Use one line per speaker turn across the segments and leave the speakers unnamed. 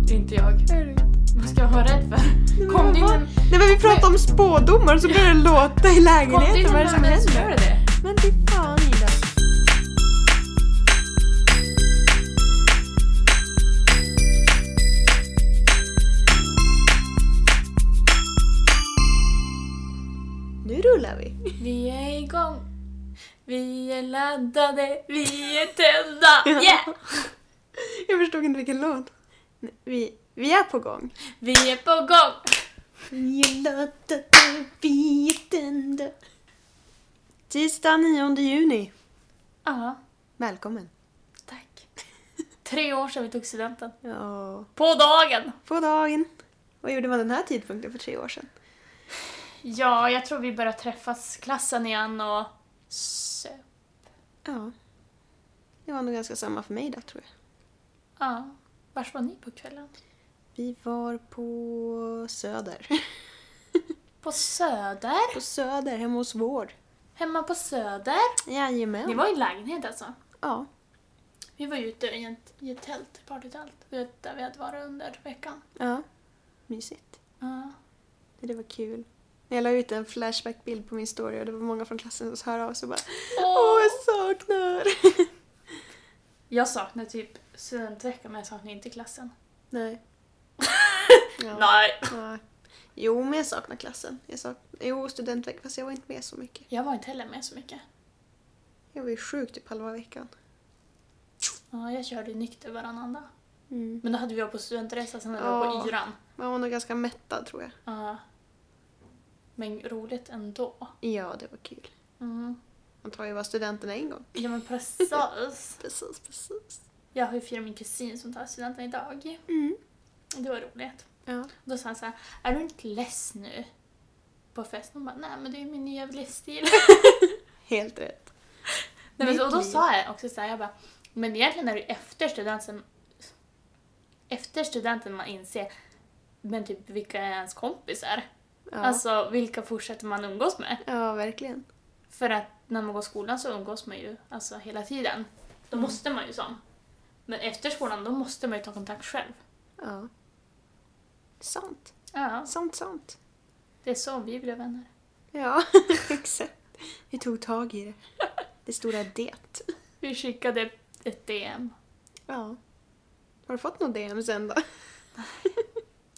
tyckte inte jag. Vad ska jag vara rädd för? Kom det in en,
Nej men vi pratar om spådomar så börjar det låta i
kom det in
lägenheten.
en
Vad är det som
mamma så gör
händer?
det.
Men fy fan Ida. Nu rullar vi.
Vi är igång. Vi är laddade. Vi är tända. Yeah!
Jag förstod inte vilken låt. Nej, Vi, vi är på gång.
Vi är på gång.
Vi är laddade, vi är tända. Tisdag 9 juni.
Ja,
Välkommen.
tack. Tre år sedan vi tog studenten.
Ja,
På dagen!
på dagen. Vad gjorde man den här tidpunkten för tre år sedan?
Ja, jag tror vi börjar träffas, klassen igen och... Så.
Ja. Det var nog ganska samma för mig då, tror jag.
Ja. Vars var ni på kvällen?
Vi var på Söder.
På Söder.
På Söder, hemma hos vår.
Hemma på Söder.
Jajamän.
Ni var i en lägenhet alltså.
Ja.
Vi var ute i ett, i ett tält, ett partytält, vi vet, där vi hade varit under veckan.
Ja. Mysigt.
Ja.
Det var kul. Jag la ut en flashback-bild på min story och det var många från klassen som hörde av sig och bara Åh, jag saknar!
Jag saknar typ studentveckan men jag saknar inte klassen.
Nej. Ja.
Nej!
Nej. Jo, men jag saknar klassen. Jag saknar... Jo, studentveckan, fast jag var inte med så mycket.
Jag var inte heller med så mycket.
Jag var ju sjuk typ halva veckan.
Ja, jag körde nykter varannan dag. Men då hade vi varit på studentresa sen när vi var
Ja.
på yran.
Man var nog ganska mättad tror jag.
Ja. Men roligt ändå.
Ja, det var kul.
Mm.
Man tar ju bara studenten en gång.
Ja men precis.
Precis, precis.
Jag har ju firat min kusin som tar studenten idag.
Mm.
Det var roligt.
Ja.
Då sa han så här, är du inte less nu? På festen. Hon bara, nej men det är ju min nya livsstil.
Helt rätt.
Nej, men, så- och då
Mitt liv.
sa jag också så här, jag bara, men egentligen är det ju efter studenten, efter studenten man inser men typ vilka är ens kompisar?
Ja.
Alltså vilka fortsätter man umgås med?
ja, verkligen.
För att när man går i skolan så umgås man ju alltså, hela tiden.
Mm.
Då måste man ju som. Men efter skolan då måste man ju ta kontakt själv.
Ja. Sant.
Ja,
Sant, sant.
det är så vi blev vänner.
Ja, exakt. Vi tog tag i det. Det stora det.
Vi skickade ett DM.
Ja. Har du fått något DM sen då?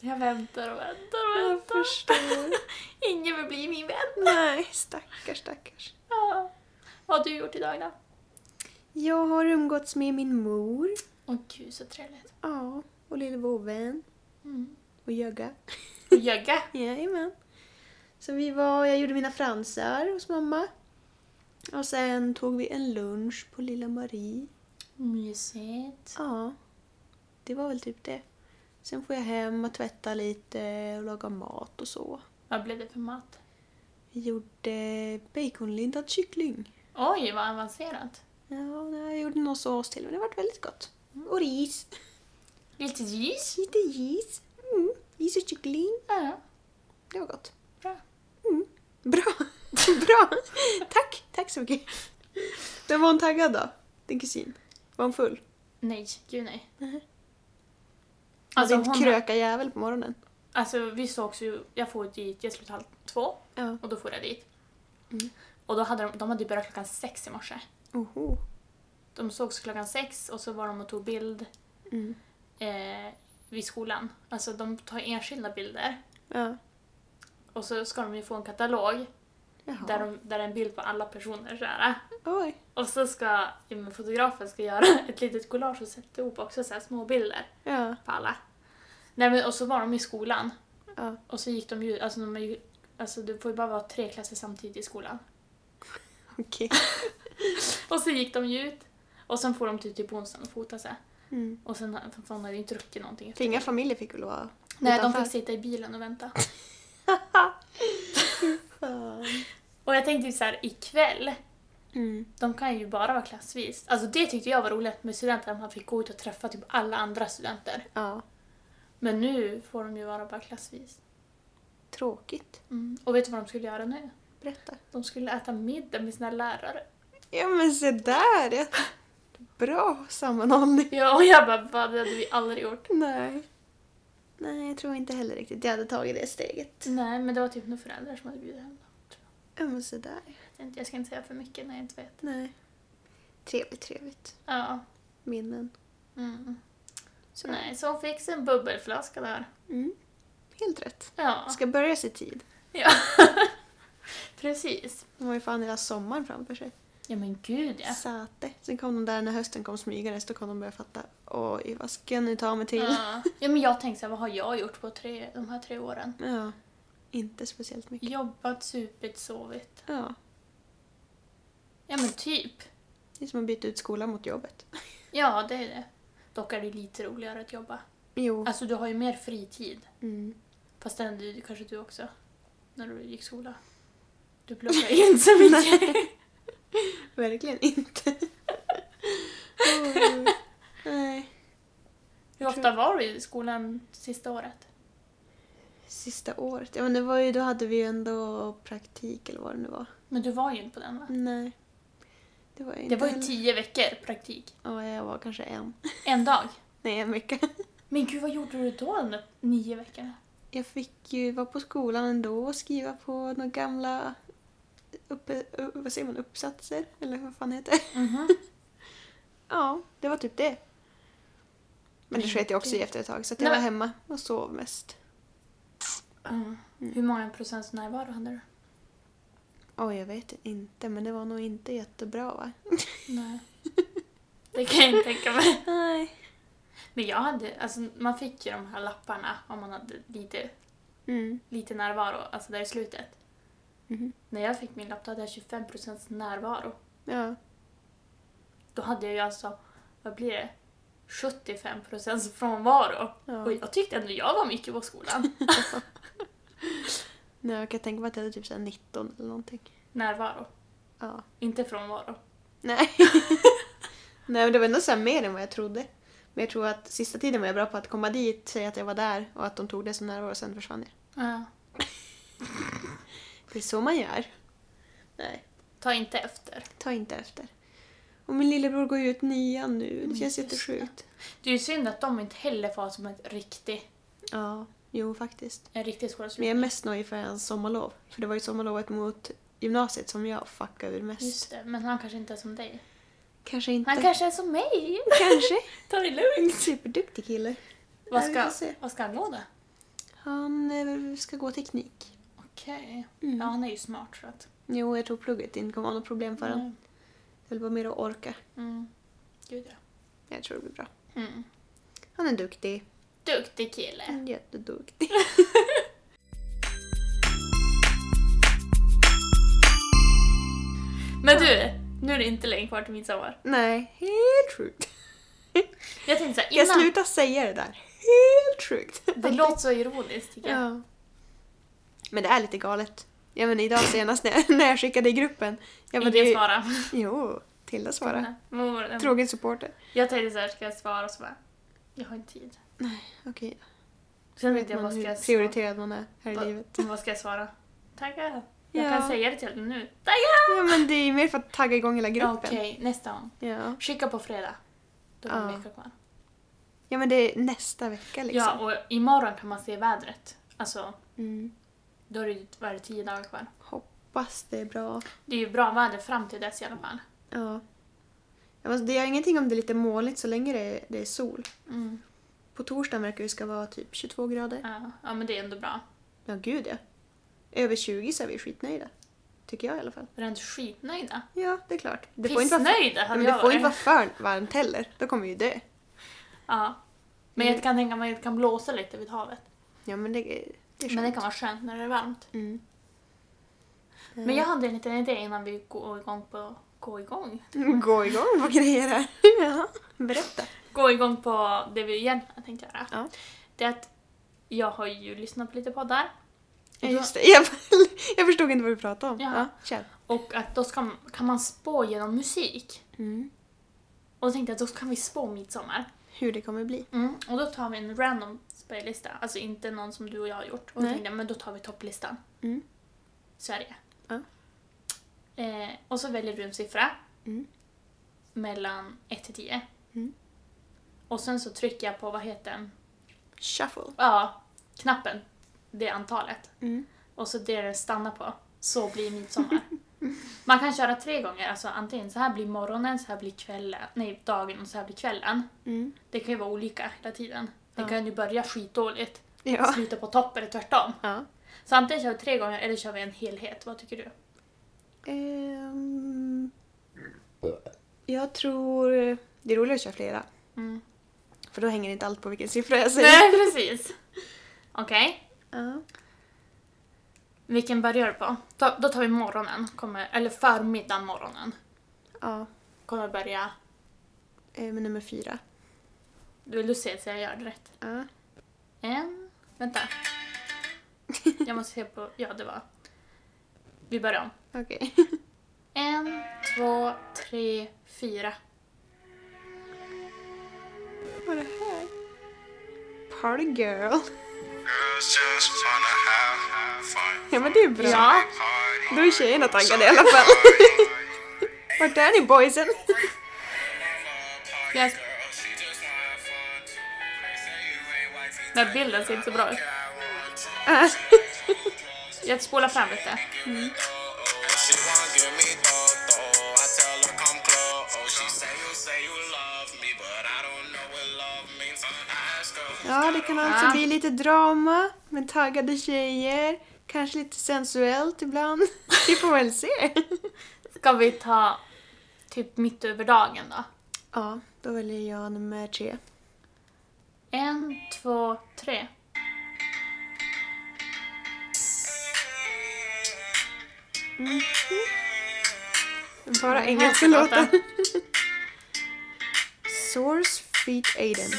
Jag väntar och väntar och
Jag
väntar.
förstår.
Ingen vill bli min vän.
Nej, stackars, stackars.
Ja. Vad har du gjort idag då?
Jag har umgåtts med min mor.
Åh gud så trevligt.
Ja. Och lille vovven.
Mm.
Och Jögga.
Jögga.
Jajamän. Så vi var, jag gjorde mina fransar hos mamma. Och sen tog vi en lunch på Lilla Marie.
Mysigt.
Ja, det var väl typ det. Sen får jag hem och tvätta lite och laga mat och så.
Vad blev det för mat?
Vi gjorde baconlindad kyckling.
Oj, vad avancerat.
Ja, nej, jag gjorde någon sås till men det var väldigt gott. Mm, Och ris.
Lite ljus.
Lite ris. Mm. Ris och kyckling.
Ja,
Det var gott.
bra.
Bra! Bra! Tack! Tack så mycket. Men var hon taggad då? Din kusin? Var hon full?
Nej, gud nej.
Nej.
Alltså,
hon
hon,
kröka jävel på morgonen.
alltså vi sågs ju, jag får dit, jag slutade halv två
Ja.
och då får jag dit.
Mm.
Och då hade de, de hade ju börjat klockan sex i morse.
Oho.
De sågs klockan sex och så var de och tog bild
Mm.
eh, vid skolan. Alltså de tar enskilda bilder
Ja.
och så ska de ju få en katalog
Jaha.
där, de, där det är en bild på alla personer såhär.
Oj.
Och så ska ja, men fotografen ska göra ett litet collage och sätta ihop också så här små bilder
Ja.
på alla. Nej, men, och så var de i skolan
Ja.
och så gick de ju, alltså, de är ju, alltså det får ju bara vara tre klasser samtidigt i skolan.
Okej.
Och så gick de ju ut och sen får de typ till på onsdagen och fota sig.
Mm.
Och sen för fan hade ju inte druckit någonting. efter
För inga
det.
familjer fick väl vara
Nej, de
utanför?
fick sitta i bilen och vänta.
Fan.
Och jag tänkte så här, ikväll,
Mm.
de kan ju bara vara klassvis. Alltså det tyckte jag var roligt med studenter, att man fick gå ut och träffa typ alla andra studenter.
Ja.
Men nu får de ju vara bara klassvis.
Tråkigt.
Mm. Och vet du vad de skulle göra nu?
Berätta.
De skulle äta middag med sina lärare.
Ja men se där! ja. Bra sammanhållning.
Ja, och jag bara, "Va, det hade vi aldrig gjort.
Nej. Nej, jag tror inte heller riktigt jag hade tagit det steget.
Nej, men det var typ några föräldrar som hade bjudit hem.
Ja, men sådär.
Jag vet inte, Jag ska inte säga för mycket när jag inte vet.
Nej. Trevligt, trevligt.
Ja.
Minnen.
Mm. Så nej, så hon fick sig en bubbelflaska där.
Mm. Helt rätt.
Ja,
Ska börja sig tid.
precis.
De har ju fan hela sommaren framför sig.
Ja men gud ja.
Säte. Sen kom de där när hösten kom smygandes, då kom de börja fatta. Oj, vad ska jag nu ta mig till?
Ja. ja men jag tänkte såhär, vad har jag gjort på tre, de här tre åren?
Ja. Inte speciellt mycket.
Jobbat, supit, sovit.
Ja.
Ja men typ.
Det är som att byta ut skolan mot jobbet.
Ja, det är det. Dock är det lite roligare att jobba.
Jo.
Alltså du har ju mer fritid.
Mm.
Fast det hände ju kanske du också. När du gick skola. Du pluggade ju inte så mycket.
Verkligen inte. Oj. Nej.
Hur ofta var du i skolan sista året?
Sista året. Ja, men det var ju, då hade vi ju ändå praktik eller vad det nu var.
Men du var ju inte på den va?
Nej. Det var jag inte
Det var ju
heller.
tio veckor praktik.
Ja, jag var kanske en.
En dag.
Nej, en vecka.
Men gud, vad gjorde du då de där nio veckorna?
Jag fick ju vara på skolan ändå och skriva på några gamla uppe, upp, vad säger man, uppsatser, eller vad fan heter det?
Mhm.
Ja, det var typ det. Men det
Mm,
sket jag också i
gud.
efter ett tag, så att jag
Nej,
var
men-
hemma och sov mest. Mm.
Hur många procents närvaro hade du?
Oj, jag vet inte, men det var nog inte jättebra va?
Nej. Det kan jag inte tänka mig.
Nej.
Men jag hade, alltså man fick ju de här lapparna om man hade lite,
Mm.
lite närvaro, alltså där i slutet.
Mhm.
När jag fick min lapp då hade jag 25 procents närvaro.
Ja.
Då hade jag ju alltså, vad blir det? 75 procents frånvaro.
ja.
Och jag tyckte ändå jag var mycket på skolan.
Nej, jag kan tänka mig att jag hade typ såhär 19 eller någonting.
närvaro,
Ja.
inte frånvaro.
Nej. Nej, men det var ändå så här mer än vad jag trodde. Men jag tror att sista tiden var jag bra på att komma dit, säga att jag var där och att de tog det som närvaro och sen försvann jag.
Ja.
Det är så man gör. Nej,
Ta inte efter.
ta inte efter. Och min lillebror går ju ut nian nu, det
Men
känns
just
jättesjukt.
Det är ju synd att de inte heller får ha som ett riktig,
Ja, jo faktiskt.
en riktig
Men jag är
skolavslutning.
mest nöjd för hans sommarlov. För det var ju sommarlovet mot gymnasiet som jag fuckade ur mest.
Just det, men han kanske inte är som dig.
Kanske inte.
Han kanske är som mig!
kanske.
Ta det lugnt!
En superduktig kille.
Vad
Ja, vi får
ska,
se.
vad ska han gå då?
Han eh, ska gå teknik.
Okej.
Mm.
Ja, han är ju smart så att...
Jo, jag tror plugget inte kommer vara något problem för honom.
Mm.
Det är väl bara mer att orka.
Mm. Gud ja.
Jag tror det blir bra.
Mm.
Han är duktig.
Äh. Duktig
Mm.
kille.
Jätteduktig.
Men du, nu är det inte länge kvar till midsommar.
Nej, helt sjukt.
Jag tänkte såhär,
Jag
innan...
slutar säga det där. Helt sjukt.
Det låter så ironiskt tycker jag.
Ja. Men det är lite galet. Ja men idag senast när jag, när jag skickade i gruppen. Jag bara,
Ingen
det är ju-
svara.
Jo, Tilda svarade.
Mor,
Trogen supporter.
Jag tänkte såhär, ska jag svara? Och så bara, jag har inte tid.
Okej,
Sen
vet
tänkte jag,
man
vad ska
hur
jag svara?
prioriterad man är här i
Vad-
livet.
Vad ska jag svara? Tackar. Jag
Ja.
kan säga det till dig nu. Tackar!
Ja men det är ju mer för att tagga igång hela gruppen.
Okej, nästa gång.
Ja.
Skicka på fredag. Då har vi
Ja.
en vecka kvar.
ja men det är nästa vecka liksom.
Ja, och imorgon kan man se vädret. Alltså,
Mm.
då är det ju bara tio dagar kvar.
Hoppas det är bra.
Det är ju bra väder fram till dess i alla fall.
Ja. Ja, men Det gör ingenting om det är lite molnigt så länge det är, det är sol.
Mm.
På torsdagen verkar det ska vara typ 22 grader.
Ja. ja, men det är ändå bra.
Ja, gud ja. Över 20 så är vi skitnöjda. Tycker jag i alla fall.
Vi är inte skitnöjda.
Ja, det är klart. Det får inte vara, för,
Pissnöjda
ja,
hade
men
jag
det får inte
varit.
vara för varmt heller. Då kommer vi ju dö.
Ja. Men jag kan tänka mig att det kan blåsa lite vid havet.
Ja, men det, det är skönt.
Men det kan vara skönt när det är varmt.
Mm.
Men jag hade en liten idé innan vi går igång på... Gå igång?
Gå igång på grejer här. ja, berätta.
gå igång på det vi egentligen tänkte göra.
Ja.
Det är att jag har ju lyssnat på lite poddar
Ja, just det. Jag, jag förstod inte vad du pratade om.
Ja.
kör.
och att då ska, kan man spå genom musik.
Mm.
Och då tänkte jag att då kan vi spå midsommar.
Hur det kommer bli.
Och då tar vi en random spellista, alltså inte någon som du och jag har gjort. Och då
Nej.
tänkte jag, men då tar vi topplistan.
Mm.
Sverige.
Ja.
Eh, och så väljer du en siffra
Mm.
mellan 1 till 10.
Mm.
Och sen så trycker jag på, vad heter den?
Shuffle.
Ja, knappen. Det är antalet.
Mm.
Och så det är det stanna på. Så blir midsommar. Man kan köra tre gånger, alltså antingen så här blir morgonen, så här blir kvällen, nej dagen och så här blir kvällen.
Mm.
Det kan ju vara olika hela tiden. Det
Ja.
kan ju börja skitdåligt,
Ja.
sluta på topp eller tvärtom.
ja.
Så antingen kör vi tre gånger eller kör vi en helhet, vad tycker du?
Ehm, jag tror det är roligare att köra flera.
Mm.
För då hänger inte allt på vilken siffra jag säger.
Nej, precis. Okej,
Ja.
vilken börjar du på? Ta, då tar vi morgonen, kommer, eller förmiddagen morgonen.
ja.
Kommer börja...
Eh, Med nummer fyra.
Vill du se så jag gör det rätt?
Ja.
En... Vänta. Jag måste se på... Ja, det var... Vi börjar om.
Okej.
En, två, tre, fyra.
Vad är det här? Party girl.
Girls just wanna have fun.
Ja men det är bra.
Ja.
Party,
Då är tjejerna taggade i alla fall. Vart är ni boysen?
party
Yes.
girl, she just wanna have fun too. They say you ain't wifey,
Den här bilden ser inte så bra ut.
I want you.
Äh.
Jag spolar fram lite.
She wanna give me though, I tell her come close. She say you say you love me, but I don't know what love means. I ask her.
Ja, det kan alltså
Ja.
bli lite drama med taggade tjejer. Kanske lite sensuellt ibland. Vi får väl se.
Ska vi ta typ mitt över dagen då?
Ja, då väljer jag nummer tre.
En, två, tre.
Bara
Här
engelska
ska låten.
låtar. Source feat Aiden.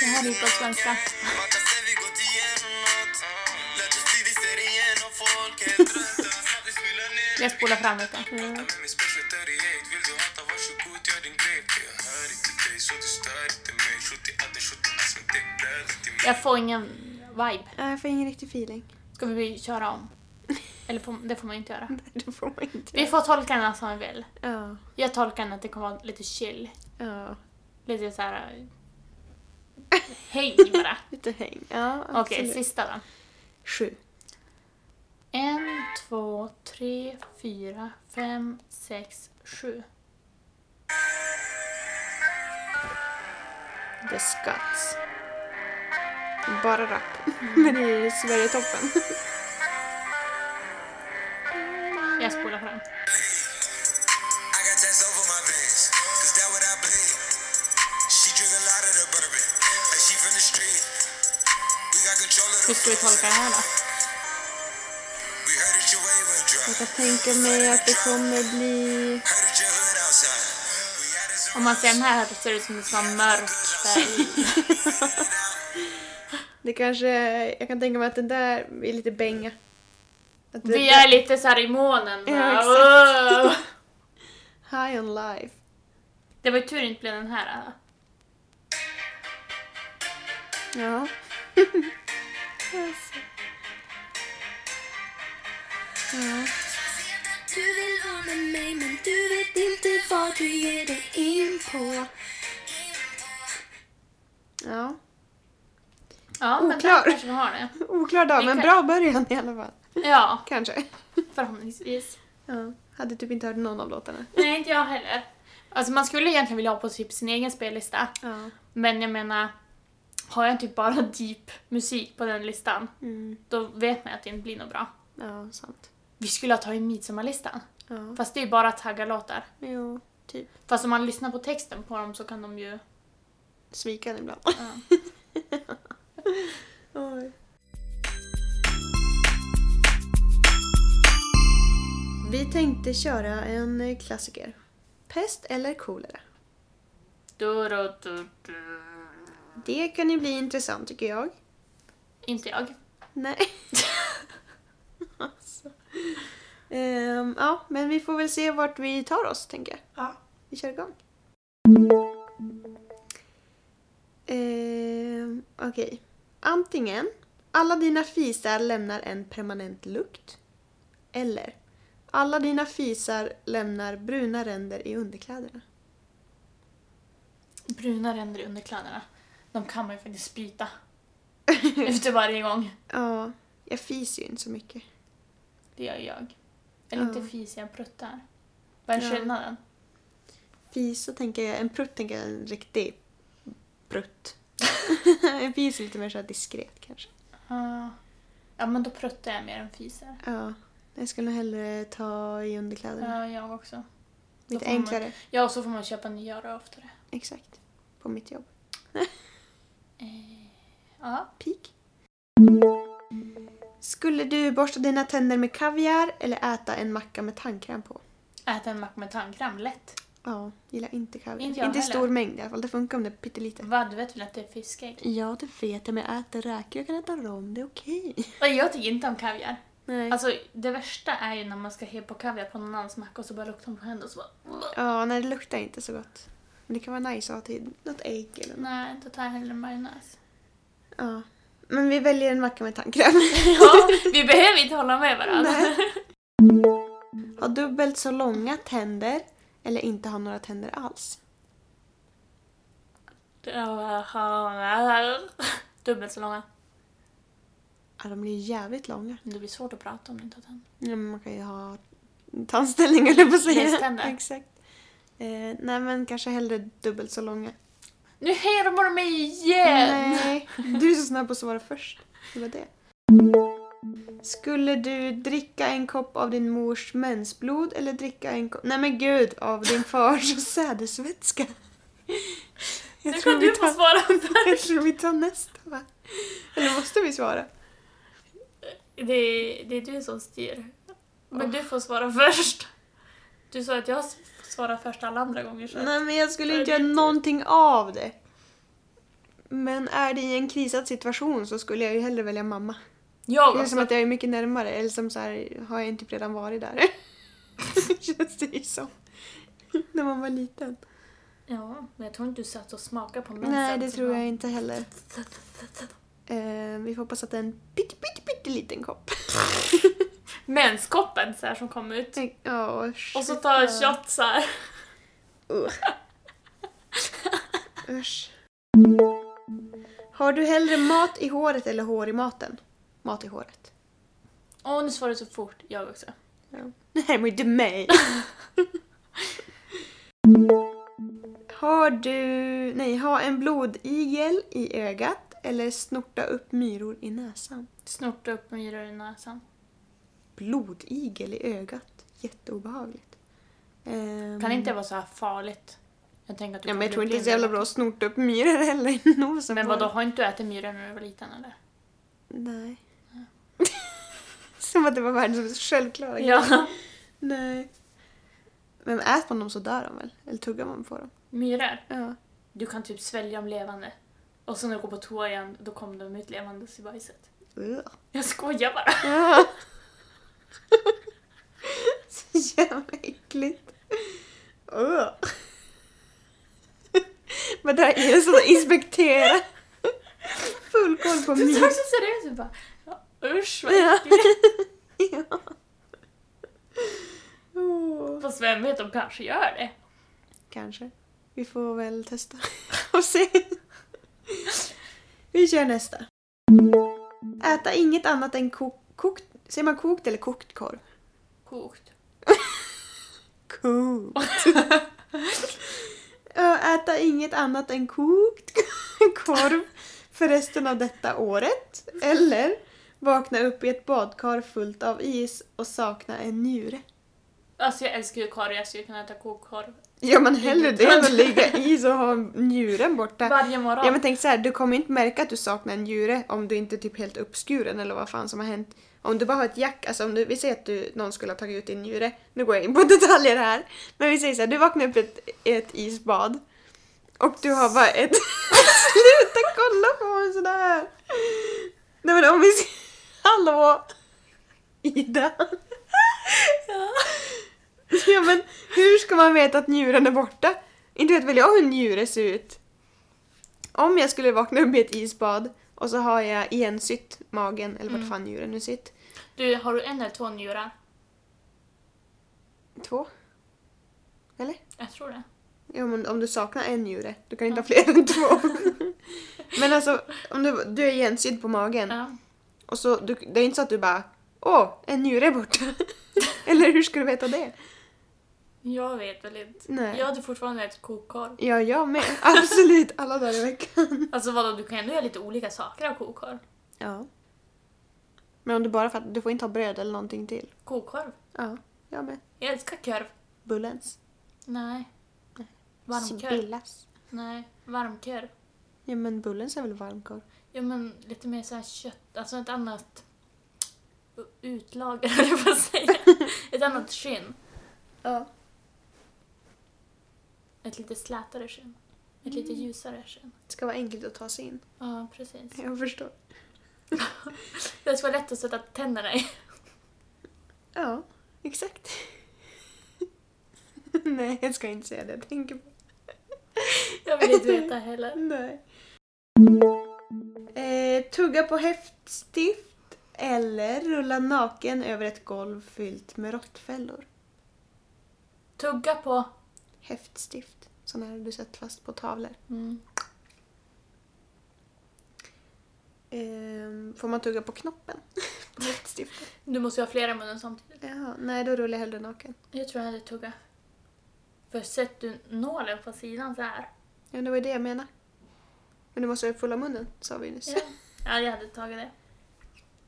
Det här är ju på svenska. Jag spolar fram lite. Jag får ingen vibe.
Nej, Äh, jag får ingen riktig feeling.
Ska vi köra om? Eller får, det får man ju inte göra.
Nej, det får man inte.
Vi får tolka den här som vi vill.
Ja,
Jag tolkar den att det kommer vara lite chill.
ja.
Lite så här. eh, Häng bara.
Lite häng. Ja,
Okej,
absolut.
sista då.
Sju.
En, två, tre, fyra, fem, sex, sju.
The Scots. Bara rap. Men det är Sverigetoppen.
Jag spolar fram.
I got tests over my veins, cause that what I bleed. She drink a lot of the bourbon, like she from the street. We got control of
Hur
the
ska vi tolka det här då?
We heard that your way went dry.
Jag kan tänka mig att det kommer bli...
Heard that your hood outside. We had us a
Om man ser den här så ser det ut som en sån här mörk färg.
Det kanske... Jag kan tänka mig att den där är lite bänga. Att det-
Vi är lite så här i månen. bara,
Ja,
"Wow."
High on life.
Det var ju tur det inte blev den här. eh. Då.
Ja.
Du vill vara med mig men du vet inte vad du ger dig in på
ja.
Ja, men
Oklar.
där kanske vi har det.
Oklar dag,
Vi
men
kan-
bra början i alla fall.
Ja,
Kanske.
förhoppningsvis.
Ja. Hade typ inte hört någon av låtarna.
Nej, inte jag heller. Alltså man skulle egentligen vilja ha på typ sin egen spellista.
Ja.
Men jag menar, har jag typ bara deep musik på den listan,
Mm.
då vet man att det inte blir något bra.
Ja, sant.
Vi skulle ha tagit midsommarlistan.
Ja.
Fast det är ju bara taggarlåtar.
Jo, typ.
Fast om man lyssnar på texten på dem så kan de ju...
Svikan ibland.
Ja.
Oj. Vi tänkte köra en eh, klassiker. Pest eller kolera?
Du, du, du, du.
Det kan ju bli intressant tycker jag.
Inte jag.
Nej. alltså. Ehm, ja, men vi får väl se vart vi tar oss, tänker jag.
Ja.
Vi kör igång. Ehm, Okej. Antingen alla dina fisar lämnar en permanent lukt. Eller alla dina fisar lämnar bruna ränder i underkläderna.
bruna ränder i underkläderna. De kan man ju faktiskt byta. Efter varje gång.
Ja, jag fiser ju inte så mycket.
Det gör jag. Eller
Ja.
inte fis, jag pruttar. Vad är
Ja.
skillnaden?
Fisa tänker jag, en prutt tänker jag är en riktig prutt. en fis är lite mer så här diskret kanske.
Ja. ja, men då pruttar jag mer än fiser.
Ja, jag skulle nog hellre ta i underkläderna.
Ja, jag också. då
Mm. lite
får man-
enklare.
Ja, och så får man köpa nyare oftare.
Exakt. På mitt jobb.
Ja.
Peak. Skulle du borsta dina tänder med kaviar eller äta en macka med tandkräm på?
Äta en macka med tandkräm, lätt.
Ja, gillar inte kaviar.
Inte
Inte,
jag
i
heller.
stor mängd i alla fall. Det funkar om det är pyttelite.
Vad du vet väl att det är fiskägg?
Ja, det vet jag, men jag äter räkor. Jag kan äta rom, det är okej.
Och jag tycker inte om kaviar.
Nej.
Alltså, det värsta är ju när man ska he på kaviar på någon annans macka och så bara luktar man på händerna och så bara...
Ja, nej det luktar inte så gott. Men det kan vara nice att ha till något ägg eller något.
Nej, då tar jag hellre majonnäs.
Ja. Men vi väljer en macka med tandkräm.
Ja, vi behöver inte hålla med varandra.
Nej. ha dubbelt så långa tänder eller inte ha några tänder alls.
Dubbelt så långa.
Ja, de blir ju jävligt långa.
Det blir svårt att prata om du inte har tänder.
Ja, men man kan ju ha tandställning eller på att säga.
Näständer.
Exakt. Eh, nej men kanske hellre dubbelt så långa.
Nu härmar de mig igen!
Nej, du är så snabb på att svara först. Det var det. Skulle du dricka en kopp av din mors mensblod eller dricka en kopp... Nej men gud! Av din fars sädesvätska. Jag
nu
tror
kan
vi
du få
tar,
svara för.
jag tror vi tar nästa va? Eller måste vi svara?
Det är, det är du som styr. Men du får svara först. Du sa att jag s- svarar först alla andra gånger. Så.
Nej men jag skulle
Nej,
inte
det är
göra
inte-
någonting av det. Men är det i en krisad situation så skulle jag ju hellre välja mamma.
Jag
Det känns som
också.
att jag är mycket närmare, eller som så här, har jag inte typ redan varit där? känns det ju som. När man var liten.
Ja, men jag tror inte du satt och smakade på mensen.
Nej, det
så
tror
bra.
jag inte heller. Eh, vi får hoppas att det är en pytte, pytte, pytteliten kopp.
Menskoppen så här som kom ut.
Ja,
Och så tar jag shot så här.
Usch. Har du hellre mat i håret eller hår i maten? Mat i håret.
Åh, nu svarar du så fort. Jag också.
Det här är inte mig. Har du... Nej, ha en blodigel i ögat eller snorta upp myror i näsan?
Snorta upp myror i näsan.
Blodigel i ögat. Jätteobehagligt. Ehm,
Kan inte vara så här farligt? Jag tänker att du
Ja,
kan
men jag
bli
tror inte det är
blind
så jävla
eller
bra att
något.
snorta upp myror heller i nosen.
Men
på
vadå,
den.
har inte du ätit myror när du var liten eller?
Nej. Som att det var världens självklara grej.
Ja.
Nej. Men äter man dem så dör de väl? Eller tuggar man på dem?
Myror?
Ja.
Du kan typ svälja dem levande. Och sen när du går på toa igen, då kommer de ut levandes i bajset.
Ugh.
Jag skojar bara.
Ja. Så jävla äckligt. Ugh. Men där är det så att inspektera. Full koll på
Du
mig.
såg så seriös ut bara. Ja, usch vad
Ja.
äckligt.
Ja. Åh,
Fast vem vet, de kanske gör det.
Kanske. Vi får väl testa och se. Vi kör nästa. Äta inget annat än kok- kokt... Säger man kokt eller kokt korv?
Kokt.
Kokt. Ja, Äta inget annat än kokt korv för resten av detta året. Eller vakna upp i ett badkar fullt av is och sakna en njure.
Alltså jag älskar ju korv, jag skulle kunna äta kokkorv
Ja men hellre det än att ligga i is och ha njuren borta.
varje morgon.
Ja men tänk så här, du kommer inte märka att du saknar en njure om du inte är typ helt uppskuren eller vad fan som har hänt. Om du bara har ett jack, alltså om du, vi säger att du, någon skulle ha tagit ut din njure, nu går jag in på detaljer här. Men vi säger så här, du vaknar upp i ett, i ett isbad och du har bara ett... Sluta kolla på mig sådär! Nej men om vi... s- Hallå! Ida! Ja men hur ska man veta att njuren är borta? Inte vet väl jag hur en njure ser ut? Om jag skulle vakna upp i ett isbad och så har jag igensytt magen, eller vart fan njuren nu sitt.
Du, har du en eller två njurar?
Två? Eller?
Jag tror det.
Ja, men om du saknar en njure, du kan inte ha fler än två. men alltså, om du, du är igensydd på magen
Ja.
och så, du, det är inte så att du bara Åh, en njure är borta. Eller hur ska du veta det?
Jag vet väl inte.
Nej.
Jag hade fortfarande ett kokkorv.
Ja, jag med. Absolut, alla dagar i veckan.
Alltså vadå, du kan ändå göra lite olika saker av kokkorv.
Ja. Men om du bara fattar, du får inte ha bröd eller någonting till.
Kokkorv.
Ja, jag med.
Jag älskar korv.
Bullens.
Nej. Varmkorv.
Sibillas.
Nej, varmkorv.
Ja, men bullens är väl varmkorv?
Ja men lite mer så här kött, alltså ett annat utlager höll jag på att säga. Ett annat skinn.
Ja.
Ett lite slätare skinn. Ett lite
Mm.
ljusare skinn.
Det ska vara enkelt att ta sig in.
Ja, precis.
Jag förstår.
Det ska vara lätt att sätta tänderna i.
Ja, exakt. Nej, jag ska inte säga det jag tänker på.
Jag vill inte veta heller.
Nej. Eh, tugga på häftstift eller rulla naken över ett golv fyllt med råttfällor.
Tugga på.
Häftstift. Sådana här du sett fast på tavlor.
Mm.
Eh, får man tugga på knoppen? på häftstiftet?
Du måste ju ha flera i munnen samtidigt.
Jaha, nej då rullar jag hellre naken.
Jag tror jag hade tugga. För sett du nålen på sidan så här.
Ja, det var ju det jag menade. Men du måste ha fulla munnen, sa vi nyss.
Ja. ja, jag hade tagit det.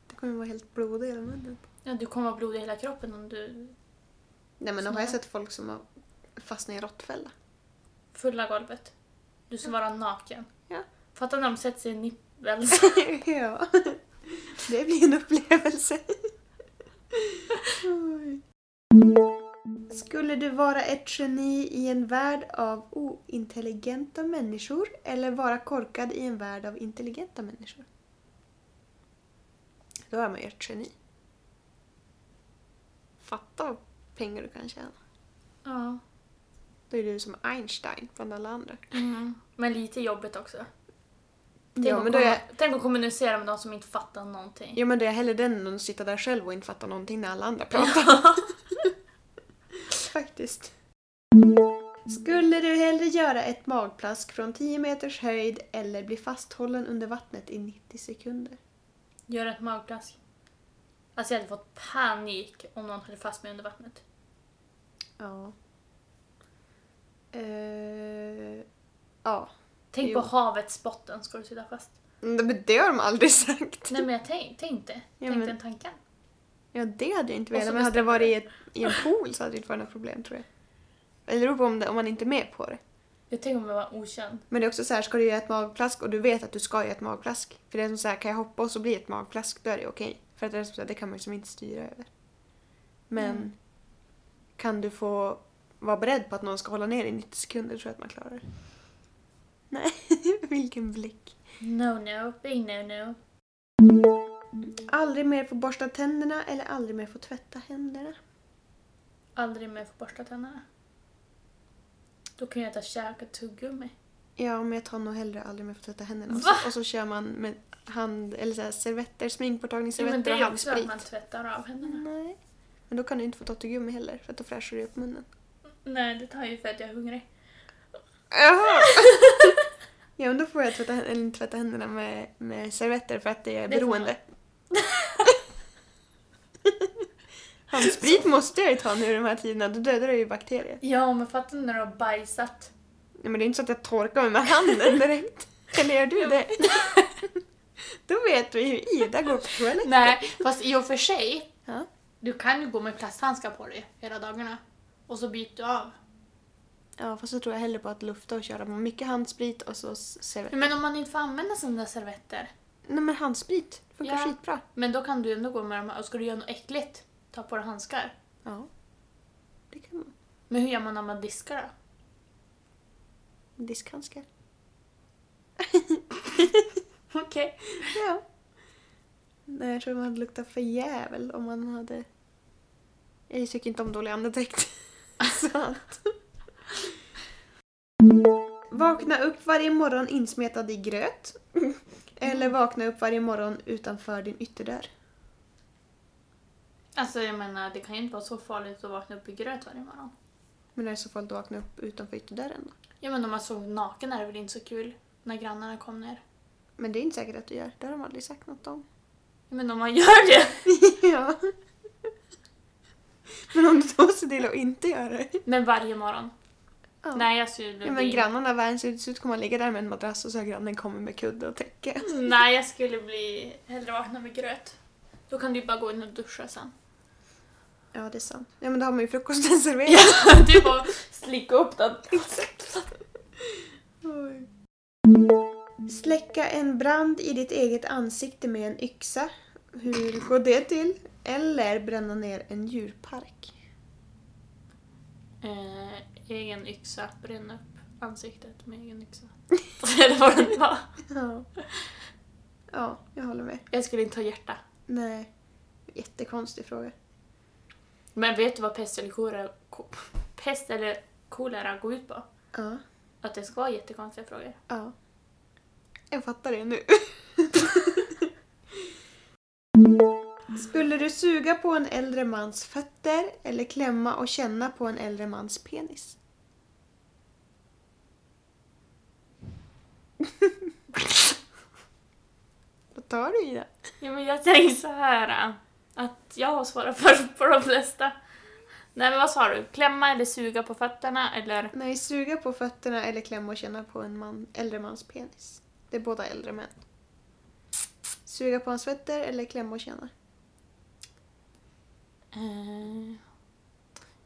Det kommer vara helt blodig i hela munnen.
Ja, du kommer ha blod i hela kroppen om du
Nej men då har
Snälla.
jag sett folk som har fastnat i råttfälla.
fulla golvet. Du som bara naken.
Ja.
Fattar när de sätter sig i nippel. så-
ja. Det blir en upplevelse. Oj. Skulle du vara ett geni i en värld av ointelligenta människor eller vara korkad i en värld av intelligenta människor? Då är man ju ett geni. Fatta vad pengar du kan tjäna.
Ja.
Då är du som Einstein bland alla andra.
Mm. Men lite jobbigt också. Tänk,
Ja,
att
men då är
komma- tänk att kommunicera med någon som inte fattar någonting.
Ja men det är hellre den än att sitta där själv och inte fatta någonting när alla andra pratar. Faktiskt. Skulle du hellre göra ett magplask från 10 meters höjd eller bli fasthållen under vattnet i 90 sekunder?
Gör ett magplask. Alltså jag hade fått panik om någon hade fast mig under vattnet.
Ja. Eh, ja.
Tänk
Jo.
på havets botten ska du sitta fast.
Nej, Men det har de aldrig sagt.
Nej men jag tänk, tänkte.
Ja,
tänkte
men-
den tanken.
Ja, det hade jag inte
Och
velat.
så
Men hade det varit i, ett, i en pool så hade det inte varit några problem tror jag. Eller det beror på om, det, om man inte är med på det.
Jag tänker om jag var okänd.
Men det är också så här, ska du göra ett magplask och du vet att du ska göra ett magplask. För det är som så här, kan jag hoppa och så blir det ett magplask, då är det okej. För att det, är som så här, det kan man ju som inte styra över. Men
Mm.
kan du få vara beredd på att någon ska hålla ner i 90 sekunder tror jag att man klarar det. Nej, vilken blick.
No no, big no no.
Aldrig mer få borsta tänderna eller aldrig mer få tvätta händerna.
Aldrig mer få borsta tänderna. Då kan jag äta käk och tuggummi.
Ja, men jag tar nog hellre aldrig mer få tvätta händerna.
Va?
Och så, och så kör man med hand, eller så här, servetter,
Jo, men
sminkborttagningsservetter
det
och
är ju också att
handsprit.
man tvättar av händerna.
Nej. Men då kan du inte få tuggummi heller, för att då fräschar du upp munnen.
Nej, det tar ju för att jag är hungrig.
Jaha! ja, men då får jag tvätta, hän- eller inte tvätta händerna med, med servetter för att det är
Det får
beroende. Handsprit måste jag ju ta nu i de här tiderna, då dödar det ju bakterier.
Ja, men fattar ni när du har bajsat?
Nej, men det är inte så att jag torkar mig med handen direkt. Eller gör du det? då vet vi hur Ida går på toaletten.
Nej, fast i och för sig,
Ja.
du kan ju gå med plasthandskar på dig hela dagarna. Och så byter du av.
Ja, fast så tror jag hellre på att lufta och köra med mycket handsprit och så s- servetter.
Men om man inte får använda sina servetter,
Nej men handsprit funkar
Ja.
skitbra.
men då kan du ändå gå med dem här. Och ska du göra något äckligt, ta på dig handskar.
Ja. Det kan man.
Men hur gör man när man diskar då?
Diskhandskar.
Okej.
Ja. Nej, jag tror man hade luktat för jävel om man hade... Jag tycker inte om dålig andedräkt. Så att... Vakna upp varje morgon insmetad i gröt. Eller vakna upp varje morgon utanför din ytterdörr.
Alltså jag menar, det kan ju inte vara så farligt att vakna upp i gröt varje morgon.
Men är det så farligt att vakna upp utanför ytterdörren då?
Ja men om man sov naken är det väl inte så kul när grannarna kom ner.
Men det är inte säkert att du gör. Det har de aldrig sagt något om.
Ja, men om man gör det!
ja. Men om du då ser till att inte göra det.
Men varje morgon.
Ja.
Nej jag skulle
Ja, men
bli...
grannarna värns ut, så kommer man ligga där med en madrass och så har grannen kommit med kudde och täcke.
Nej jag skulle bli... Hellre vakna med gröt. Då kan du ju bara gå in och duscha sen.
Ja, det är sant. Ja, men då har man ju frukosten serverad.
du bara slicka upp den.
Oj. Släcka en brand i ditt eget ansikte med en yxa. Hur går det till? Eller bränna ner en djurpark.
Eh, egen yxa, bränn upp ansiktet med egen yxa. Eller vad det var.
Ja. ja, jag håller med.
Jag skulle inte ha hjärta.
Nej. Jättekonstig fråga.
Men vet du vad pest eller kolera, ko- pest eller kolera går ut på?
Ja.
Att det ska vara jättekonstiga frågor.
ja. Jag fattar det nu. Skulle du suga på en äldre mans fötter eller klämma och känna på en äldre mans penis? Vad tar du i det?
Ja, men jag tänker så här äh, att jag har svarat för, på de flesta. Nej men vad sa du? Klämma eller suga på fötterna eller?
Nej, suga på fötterna eller klämma och känna på en man, äldre mans penis. Det är båda äldre män. Suga på hans fötter eller klämma och känna?
Eh,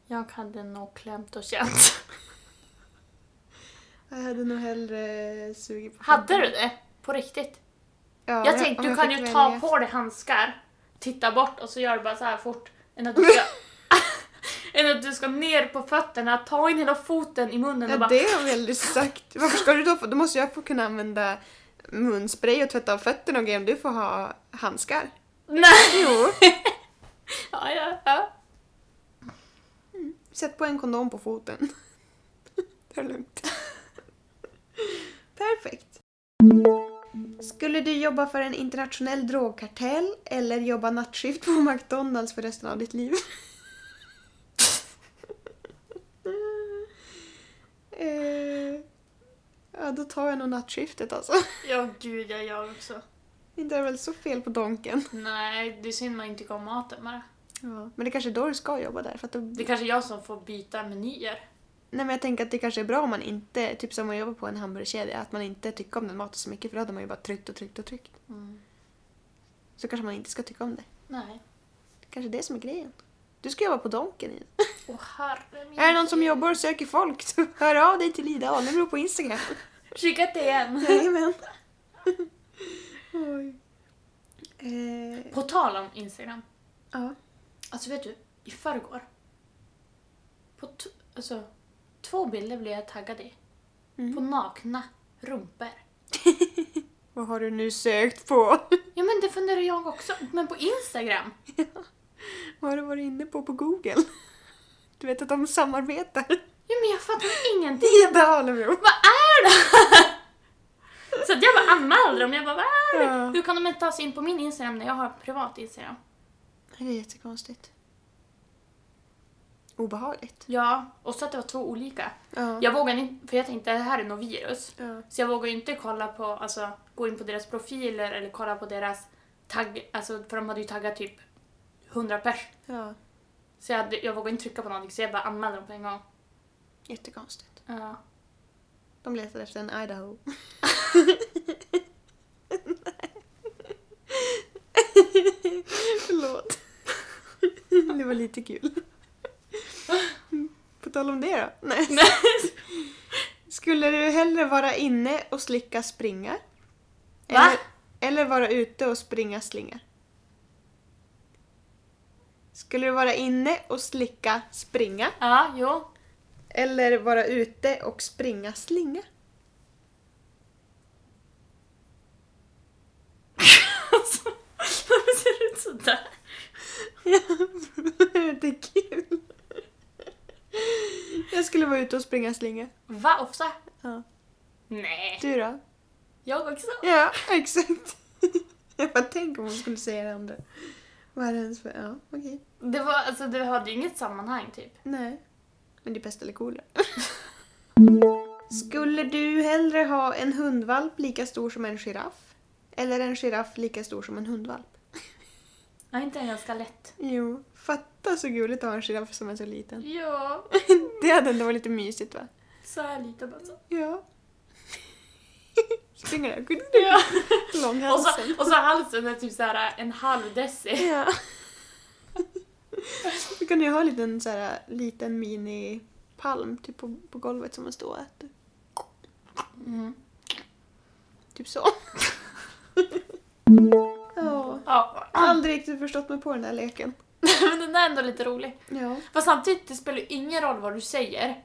jag hade nog klämt och känt.
Jag hade nog hellre sugit på
Hade
fötterna.
du det? På riktigt?
Ja,
jag
om
tänkte
om
du
jag
kan
fick
ju ta
välja.
på dig handskar, titta bort och så gör du bara så här fort. Än att du ska, än att du ska ner på fötterna, ta in hela foten i munnen och
Ja,
bara...
det har vi aldrig sagt. Varför ska du då få? Då måste jag få kunna använda munspray och tvätta av fötterna och grejer. Du får ha handskar.
Nej!
Jo.
Ja, ja, ja.
Sätt på en kondom på foten. Det är lugnt. Perfekt. Skulle du jobba för en internationell drogkartell eller jobba nattskift på McDonalds för resten av ditt liv? eh, ja, då tar jag nog nattskiftet alltså.
Ja, gud, jag gör också.
Inte är det väl så fel på donken.
Nej, det är synd man inte går maten bara.
Ja. Men det kanske är då du ska jobba där. För att då...
Det är kanske är jag som får byta menyer.
Nej men jag tänker att det kanske är bra om man inte, typ som att jobba på en hamburgerkedja, att man inte tycker om den maten så mycket för då hade man ju bara tryckt och tryckt och tryckt. Så kanske man inte ska tycka om det.
Nej.
Kanske det som är grejen. Du ska jobba på Donken igen.
Åh herre min.
Är det någon som jobbar och söker folk så hör av dig till Ida Alenbro på Instagram.
Skicka ett DM.
Jajamän. Oj. Eh,
På tal om Instagram.
ja.
Alltså vet du, i förrgår. På t- alltså, två bilder blev jag taggad i.
Mm.
På nakna rumpor.
Vad har du nu sökt på?
Ja men det funderar jag också Men på Instagram.
Vad har du varit inne på på Google? Du vet att de samarbetar.
Ja men jag fattar ingenting.
Ida Alenbro.
Vad är det här? Så att jag bara anmälde dem. Jag bara, vad är
Ja.
det? Hur kan de inte ta sig in på min Instagram när jag har privat Instagram?
Det är jättekonstigt. Obehagligt.
Ja, och så att det var två olika.
Ja.
Jag vågade inte, för jag tänkte det här är något virus.
Ja.
Så jag vågade ju inte kolla på, alltså gå in på deras profiler eller kolla på deras tagg, alltså för de hade ju taggat typ 100 pers.
ja.
Så jag, hade, jag vågade inte trycka på någonting så jag bara anmälde dem på en gång.
Jättekonstigt.
Ja.
De letar efter en Idaho. Förlåt. Det var lite kul. På tal om det då. Nej. Skulle du hellre vara inne och slicka springar?
Va?
Eller, eller vara ute och springa slingar? Skulle du vara inne och slicka springa?
Ja, jo.
Eller vara ute och springa slinga?
Alltså, Varför ser du ut sådär?
det är kul. Jag skulle vara ute och springa slinga.
Va, ofta?
Ja.
Nej.
Du då?
Jag också.
Ja, exakt. Jag bara tänk om hon skulle säga det andra. Vad är det ens för... Ja, okej.
Det var, alltså du hade ju inget sammanhang typ.
Nej. Men det är pest eller kolera. Skulle du hellre ha en hundvalp lika stor som en giraff? Eller en giraff lika stor som en hundvalp?
Ja, inte en ganska lätt.
Jo, fatta så gulligt att ha en giraff som är så liten.
Ja,
Det hade ändå varit lite mysigt va?
så här liten alltså.
Ja. Springer där, gud,
Ja.
lång
Och så,
halsen.
och så halsen är typ så här en halv deci.
Ja. Då kan jag ha en liten, så här, liten mini-palm typ på, på golvet som man står och äter.
Mm.
Typ så. Ja.
Ja,
Aldrig riktigt förstått mig på den där leken.
men den där är ändå lite rolig.
Ja.
Fast samtidigt, det spelar ju ingen roll vad du säger.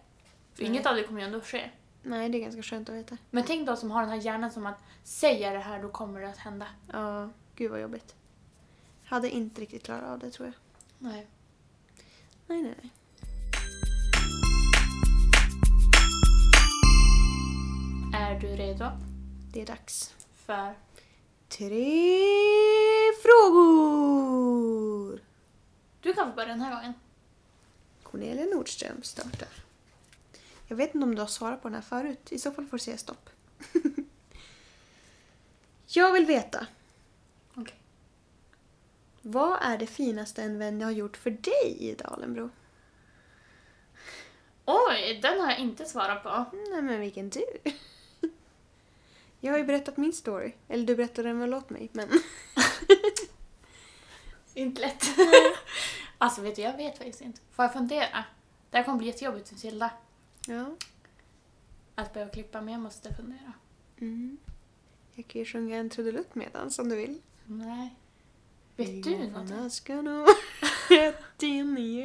För
Nej.
inget av det kommer ju ändå ske.
Nej, det är ganska skönt att veta.
Men tänk de som har den här hjärnan som att säga det här, då kommer det att hända.
Ja, gud vad jobbigt. Hade inte riktigt klarat av det tror jag.
Nej.
Nej, nej, nej.
Är du redo
Det är dags.
för...
Tre frågor!
Du kan få börja den här gången.
Cornelia Nordström startar. Jag vet inte om du har svarat på den här förut. I så fall får du säga stopp. jag vill veta,
Okej.
vad är det finaste en vän har gjort för dig i Dalenbro?
Oj, den har jag inte svarat på.
Mm, Nej men vilken tur. Jag har ju berättat min story. Eller du berättade den väl åt mig, men...
Inte lätt. alltså vet du, jag vet faktiskt inte. Får jag fundera? Det här kommer bli jättejobbigt för Tilda.
Ja.
Att behöva klippa, men jag måste fundera.
Mm. Jag kan ju sjunga en trudelutt med den som du vill.
Nej. Vet du någonting?
Jag ska nog rätt in i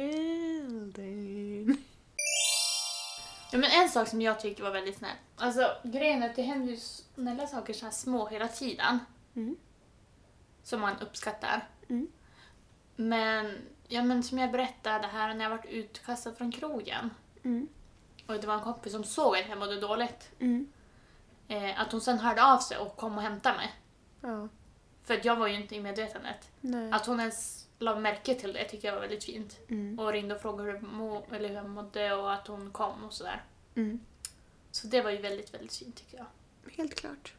elden.
Ja, men en sak som jag tyckte var väldigt snäll. Alltså grejen är att det händer ju snälla saker så här små hela tiden.
Mm.
Som man uppskattar.
Mm.
Men, ja, men som jag berättade här när jag varit utkastad från krogen.
Mm.
Och det var en kompis som såg att jag mådde dåligt.
Mm.
Eh, att hon sen hörde av sig och kom och hämtade mig.
Ja.
För att jag var ju inte i medvetandet.
Nej.
Att hon ens la märke till det tycker jag var väldigt fint.
Mm.
Och ringde och frågade hur, jag må, eller hur jag mådde och att hon kom och sådär.
Mm.
Så det var ju väldigt, väldigt fint tycker jag.
Helt klart.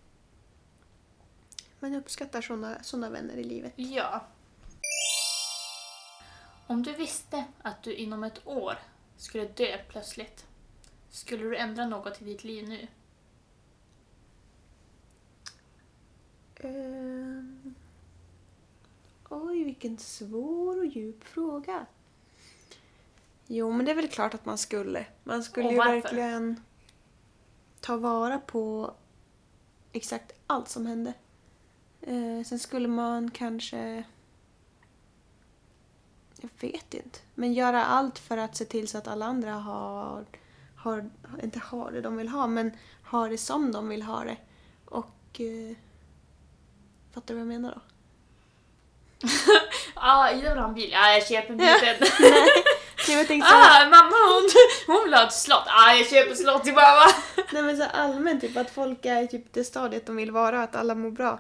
Man uppskattar sådana såna vänner i livet.
Ja. Om du visste att du inom ett år skulle dö plötsligt, skulle du ändra något i ditt liv nu?
Ehm. Oj, vilken svår och djup fråga. Jo, men det är väl klart att man skulle. Man skulle
Och
ju
varför?
verkligen ta vara på exakt allt som hände. Eh, sen skulle man kanske... Jag vet inte. Men göra allt för att se till så att alla andra har... har inte har det de vill ha, men har det som de vill ha det. Och... Eh, fattar du vad jag menar då?
Ah, Ida vill ha en bil. Ah, jag köper bilen.
Nej, men jag tänkte så här-
ah, mamma hon, hon vill ha ett slott. Ah, jag köper slott till mamma.
Nej men så allmänt typ att folk är i typ det stadiet de vill vara, att alla mår bra.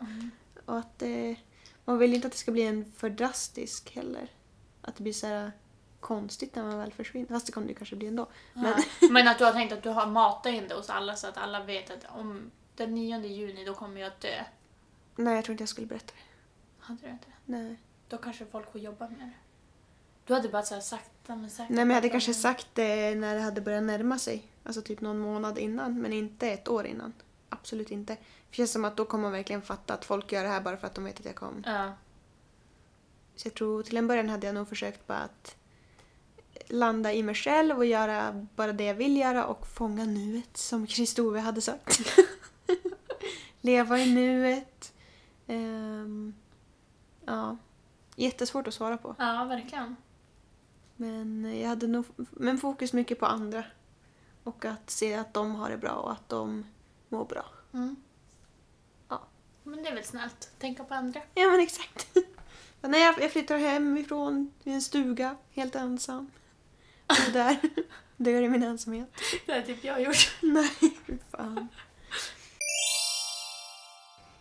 Och att eh, man vill inte att det ska bli en för drastisk heller. Att det blir så här konstigt när man väl försvinner. Fast det kommer det ju kanske bli ändå. Men,
Men att du har tänkt att du har matat in det hos alla så att alla vet att om den 9 juni då kommer jag att dö.
nej jag tror inte jag skulle berätta det.
Hade du inte det?
Nej.
Då kanske folk får jobba med det. Du hade bara så här sakta men säkert.
nej men jag hade kanske sagt det när det hade börjat närma sig. Alltså typ någon månad innan men inte ett år innan. Absolut inte. För det känns som att då kommer man verkligen fatta att folk gör det här bara för att de vet att jag kom.
Ja.
Så jag tror till en början hade jag nog försökt bara att landa i mig själv och göra bara det jag vill göra och fånga nuet som Kristove hade sagt. Leva i nuet. Ehm, ja. Jättesvårt att svara på.
ja, verkligen.
Men jag hade nog men fokus mycket på andra. Och att se att de har det bra och att de mår bra.
Mm.
Ja.
Men det är väl snällt. Tänka på andra.
Ja men exakt. Men när jag, jag flyttar hemifrån i en stuga helt ensam. Och där dör i min ensamhet.
Det har typ jag gjort.
Nej, fy fan.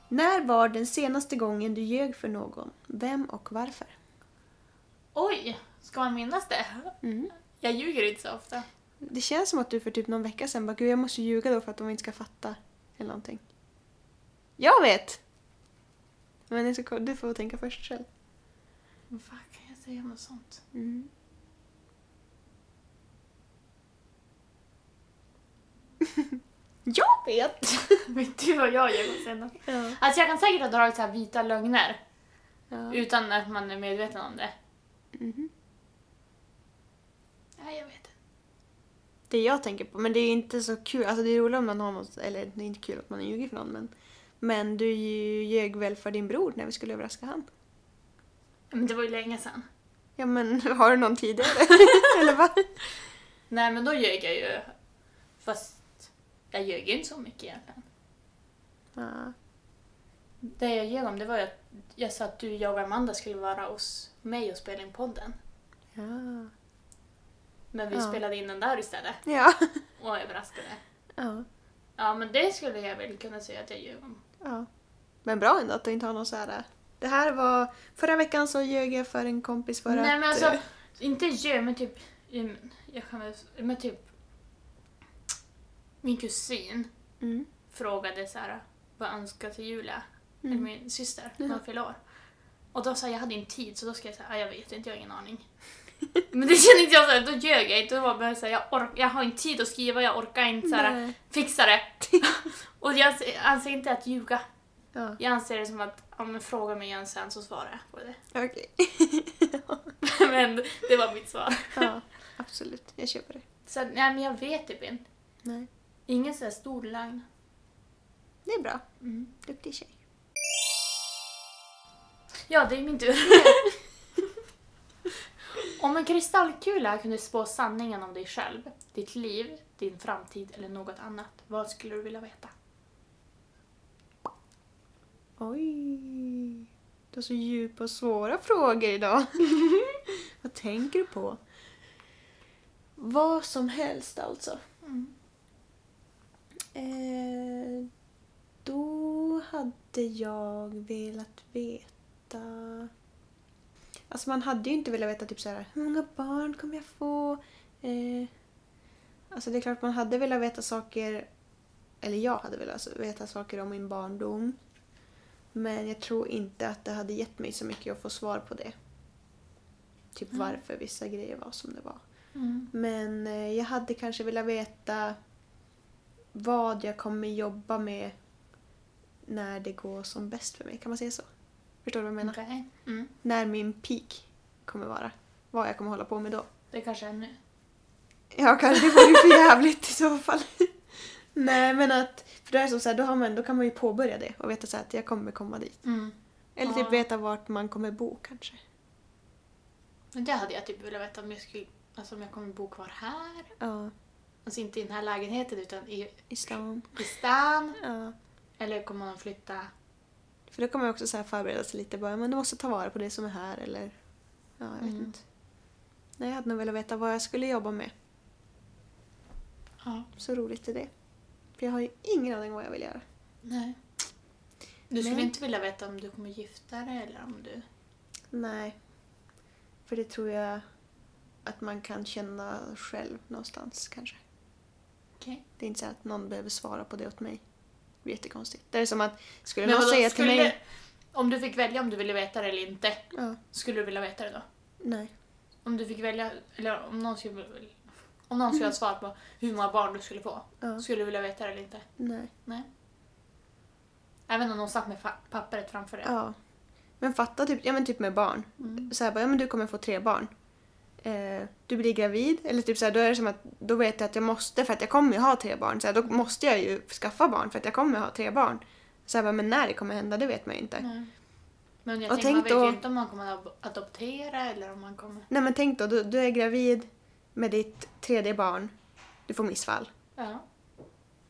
När var den senaste gången du ljög för någon? Vem och varför?
Oj! Ska man minnas det?
Mm.
Jag ljuger inte så ofta.
Det känns som att du för typ någon vecka sedan bara gud jag måste ljuga då för att de inte ska fatta. Eller någonting. Jag vet! Men jag ska, ko- du får tänka först själv.
Vad fan kan jag säga om något sånt?
Mm. Jag vet!
Vet du vad jag gör sen?
Ja.
Alltså jag kan säkert ha dragit så här vita lögner
Ja.
utan att man är medveten om det.
Mhm.
Nej, jag vet inte.
Det jag tänker på, men det är ju inte så kul. Alltså det är roligt om man har något, eller det är inte kul att man har ljugit för någon men. Men du ju- ljög väl för din bror när vi skulle överraska han?
Men det var ju länge sedan.
Ja men har du någon tidigare? eller vad?
Nej, men då ljög jag ju. Fast jag ljög ju inte så mycket egentligen.
Ja.
Det jag ljög om det var ju att jag sa att du, jag och Amanda skulle vara hos mig och spela in podden.
Ja.
Men vi
Ja.
spelade in den där istället
Ja.
och överraskade.
ja.
Ja, men det skulle jag väl kunna säga att jag ljög om.
Ja. Men bra ändå att du inte har någon så här... äh, Det här var... Förra veckan så ljög jag för en kompis för
Nej
att...
men alltså,
eh,
inte ljög men typ, mm, jag kan väl, men typ min kusin
Mm.
frågade så här, vad önskar till Julia?
Mm.
Eller min syster,
Ja.
när hon fyller år. Och då sa jag, jag hade inte tid så då ska jag säga, "Ah, jag vet inte, jag har ingen aning. men det kände inte jag såhär, då ljög jag inte. Då var jag såhär, jag, ork- jag har inte tid att skriva, jag orkar inte såhär,
Nej.
fixa det. och jag anser- anser inte att ljuga.
Ja.
Jag anser det som att, ja men fråga mig igen sen så svarar jag på det.
Okej.
men det var mitt svar.
ja, absolut. Jag köper det.
Så att, nej men jag vet typ inte.
Nej.
Ingen sån här stor lögn.
Det är bra.
Mm.
Duktig tjej.
Ja, det är min tur. om en kristallkula kunde spå sanningen om dig själv, ditt liv, din framtid eller något annat, vad skulle du vilja veta?
Oj. Du har så djupa och svåra frågor idag. Vad tänker du på? Vad som helst alltså.
Mm.
Eh, då hade jag velat veta... Alltså man hade ju inte velat veta typ så här, hur många barn kommer jag få? Eh, alltså det är klart man hade velat veta saker, eller jag hade velat veta saker om min barndom. Men jag tror inte att det hade gett mig så mycket att få svar på det. Typ
Mm.
varför vissa grejer var som det var. Men eh, jag hade kanske velat veta vad jag kommer jobba med när det går som bäst för mig. Kan man säga så? Förstår du vad jag menar?
Okej. Mm.
När min peak kommer vara. Vad jag kommer hålla på med då.
Det kanske är nu.
Ja, kanske det vore ju för jävligt i så fall. Nej, men att... För det är det som så här, då, har man, då kan man ju påbörja det och veta så här, att jag kommer komma dit.
Mm.
Eller
Ja.
typ veta vart man kommer bo kanske.
Men det hade jag typ velat veta om jag skulle, alltså om jag kommer bo kvar här.
Ja,
Alltså inte i den här lägenheten utan i,
i stan.
i stan.
Ja.
Eller kommer man flytta?
För då kommer jag också så här förbereda sig lite. Bara, men du måste ta vara på det som är här eller... Ja, jag vet
Mm.
inte. Nej, jag hade nog velat veta vad jag skulle jobba med.
Ja.
Så roligt är det. För jag har ju ingen aning vad jag vill göra.
Nej. Du skulle
Men-
inte vilja veta om du kommer gifta dig eller om du...
Nej. För det tror jag att man kan känna själv någonstans kanske.
Okej.
Det är inte så att någon behöver svara på det åt mig. Det är jättekonstigt. Det är som att skulle
Men
någon
vadå,
säga
skulle-
till mig...
Om du fick välja om du ville veta det eller inte,
Ja,
skulle du vilja veta det då?
nej.
Om du fick välja, eller om någon skulle, om någon skulle ha svar på hur många barn du skulle få,
Mm. Ja,
skulle du vilja veta det eller inte?
nej.
Nej. Även om någon satt med fa- pappret framför dig?
Ja. Men fatta typ, ja, men typ med barn.
Mm.
så här, bara, ja, men du kommer få tre barn. Eh, du blir gravid, eller typ så här, då är det som att då vet jag att jag måste för att jag kommer ju ha tre barn. Så här, då måste jag ju skaffa barn för att jag kommer ha tre barn. Så här, bara, men när det kommer hända, det vet man ju inte.
Nej. Men jag
Och
tänker, man
tänk
vet ju
då-
inte om man kommer att ab- adoptera eller om man kommer...
Nej men tänk då, du, du är gravid med ditt tredje barn, du får missfall.
Ja.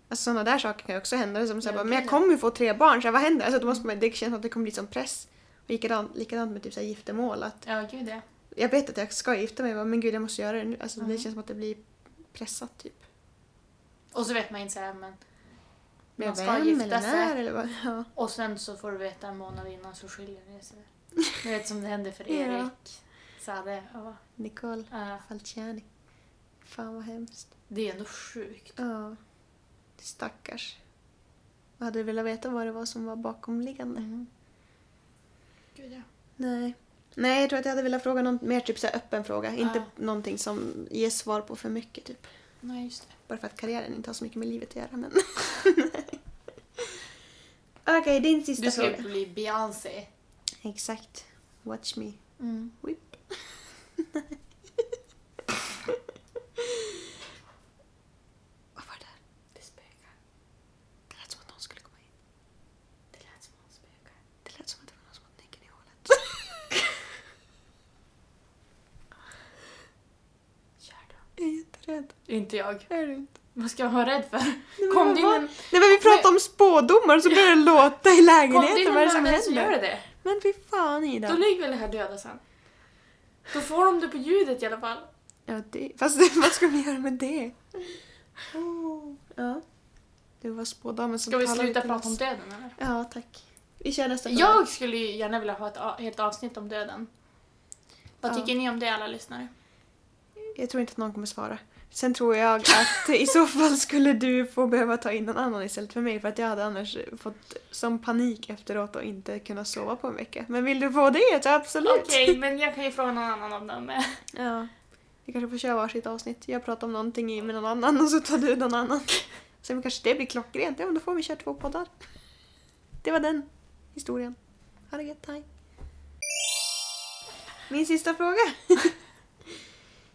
Alltså sådana där saker kan ju också hända. Det är Som så här,
Ja,
bara, men jag
precis.
kommer ju få tre barn, så här, vad händer? Alltså, då måste man, det känns som att det kommer bli som press. Och likadant, likadant med typ så här, giftermål. Att
Ja, gud ja.
jag vet att jag ska gifta mig, men gud jag måste göra det nu. Alltså,
Mm.
Det känns som att det blir pressat typ.
Och så vet man inte såhär, men...
Med
Man ska
vem
gifta
eller
sig.
när eller vad? Ja.
Och sen så får du veta en månad innan så skiljer ni sig. Du vet som det hände för Erik.
Ja.
Sade, ja.
Nicole
ja.
Falciani. Fan vad hemskt.
Det är ändå sjukt.
Ja. Stackars. Jag hade velat veta vad det var som var bakomliggande.
Gud ja.
Nej. Nej, jag tror att jag hade velat fråga någon mer typ så här öppen fråga. Inte
Ja.
någonting som ger svar på för mycket typ.
Nej, just det.
Bara för att karriären inte har så mycket med livet att göra men... Okej, din sista
Du ska ju
fråga.
bli Beyoncé.
Exakt. Watch me.
Mm.
Whip. Vad var det där?
Det spökar.
Det lät som att någon skulle komma in.
Det lät som hon spökar.
Det lät som att det var någon som hade nyckeln i hålet.
Kör då.
Jag är jätterädd.
Inte jag.
Är du inte?
Vad ska jag vara rädd för?
men
Kom
vad
det in
var-
en,
Nej men vi pratar om spådomar så börjar det låta i
kom det in
lägenheten.
en
Vad är det som
mördare så gör
händer?
det det.
Men fy fan
Då
Ida.
ligger väl det här döda sen. Då får de det på ljudet i alla fall.
Ja, det... Fast vad ska vi göra med det? Oh, ja. Det var spådamen som
Ska vi
talade
sluta
till
prata om
oss.
döden eller?
Ja, tack. Vi kör nästa fråga.
Jag skulle ju gärna vilja ha ett a- helt avsnitt om döden. Vad
Ja.
tycker ni om det alla lyssnare?
Jag tror inte att någon kommer svara. Sen tror jag att i så fall skulle du få behöva ta in någon annan istället för mig för att jag hade annars fått som panik efteråt och inte kunnat sova på en vecka. Men vill du få det så absolut.
Okej, men jag kan ju fråga någon annan om dem med.
Ja. Vi kanske får köra varsitt avsnitt. Jag pratar om någonting i med någon annan och så tar du någon annan. Sen kanske det blir klockrent. Ja, men då får vi köra två poddar. Det var den historien. Ha det gött, hej. Min sista fråga.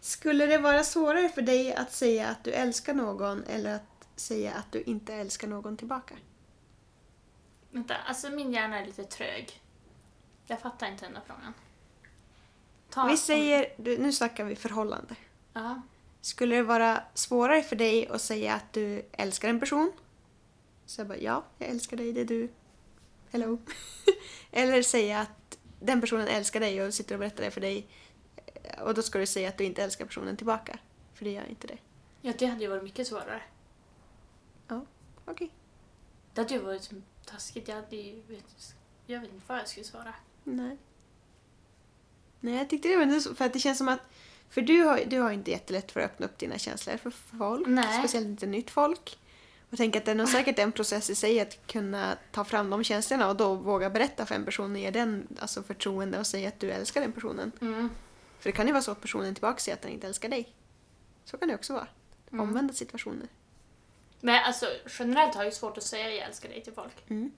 Skulle det vara svårare för dig att säga att du älskar någon eller att säga att du inte älskar någon tillbaka?
Vänta, alltså min hjärna är lite trög. Jag fattar inte den där frågan. Ta-
Vi säger, du- nu snackar vi förhållande.
Ja.
Skulle det vara svårare för dig att säga att du älskar en person? Så jag bara, ja, jag älskar dig, det är du. Hello. Eller säga att den personen älskar dig och sitter och berättar det för dig. Och då ska du säga att du inte älskar personen tillbaka. För det gör inte det.
ja, det hade ju varit mycket svårare.
Ja, okej.
Det hade ju varit taskigt. Jag hade ju... Vet, jag vet inte vad jag skulle svara.
Nej. Nej, jag tyckte det var så- för att det känns som att för du har, du har inte jättelätt för att öppna upp dina känslor för folk.
Nej.
Speciellt inte nytt folk. Och tänk att det är nog säkert en process i sig att kunna ta fram de känslorna och då våga berätta för en person och ge den alltså, förtroende och säga att du älskar den personen.
Mm.
För det kan ju vara så att personen tillbaka säger att den inte älskar dig. Så kan det också vara.
Mm.
Omvända situationer.
Men alltså generellt har jag ju svårt att säga jag älskar dig till folk.
Mm.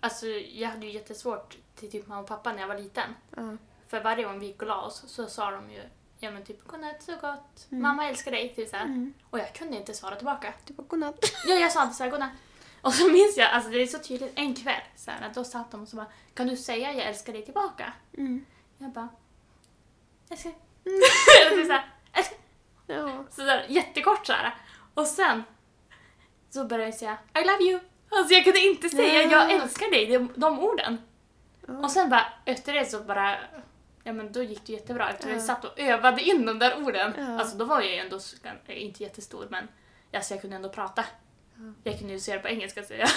Alltså jag hade ju jättesvårt till typ mamma och pappa när jag var liten.
Ja.
För varje gång vi gick och la oss så sa de ju ja men typ godnatt så gott,
Mm.
mamma älskar dig, typ såhär.
Mm.
Och jag kunde inte svara tillbaka.
Du bara typ godnatt.
Ja, jag sa alltid såhär godnatt. Och så minns jag, alltså det är så tydligt, en kväll så här, att då satt de och så bara kan du säga jag älskar dig tillbaka?
Mm.
Jag bara älskar dig. Eller så här, "Älskar
Ja.
Sådär jättekort såhär. Och sen så började jag säga I love you. Alltså jag kunde inte säga
Ja.
jag älskar dig, de, de orden.
Ja.
Och sen bara efter det så bara, ja men då gick det jättebra eftersom
Ja.
jag satt och övade in de där orden.
Ja.
Alltså då var jag ju ändå, s- eh, inte jättestor men alltså jag kunde ändå prata.
Ja.
Jag kunde ju säga det på engelska säger jag.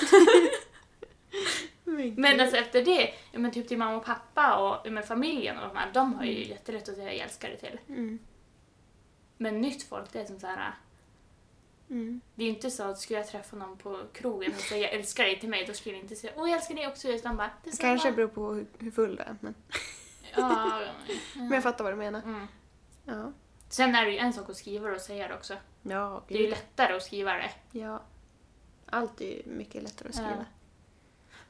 Men,
Men alltså efter det, ja, men typ till mamma och pappa och ja, men familjen och de här, de har ju jättelätt att säga jag älskar dig till.
mm.
Men nytt folk det är som så här.
Mm.
Det är ju inte så att skulle jag träffa någon på krogen och säga jag älskar dig till mig, då skulle jag inte säga åh jag älskar dig också utan bara
Det
detsamma.
kanske beror på hur, hur full du är. Men,
ja, ja,
men jag fattar vad du menar.
mm.
Ja.
Sen är det ju en sak att skriva det och säga det också.
Ja,
Det är ju lättare att skriva det. Eh,
Ja. Allt är ju mycket lättare att skriva.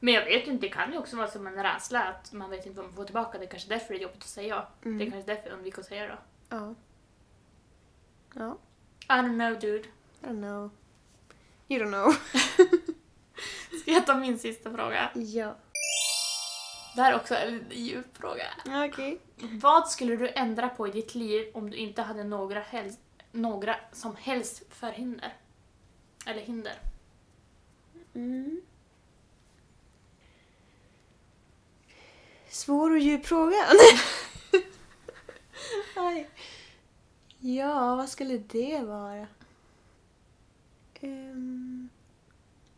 Men jag vet inte, det kan ju också vara som en rädsla att man vet inte vad man får tillbaka. Det är kanske därför det är jobbigt att säga ja.
Mm.
Det är kanske därför jag undviker att säga då.
Ja. Ja,
I don't know dude.
I don't know. You don't know.
Ska jag ta min sista fråga?
ja.
Det här är också en lite djup fråga.
Okej.
Vad skulle du ändra på i ditt liv om du inte hade några, hel- några som helst förhinder? Eller hinder.
Mm. Svår och djup fråga. Aj. Ja, vad skulle det vara? Ehm,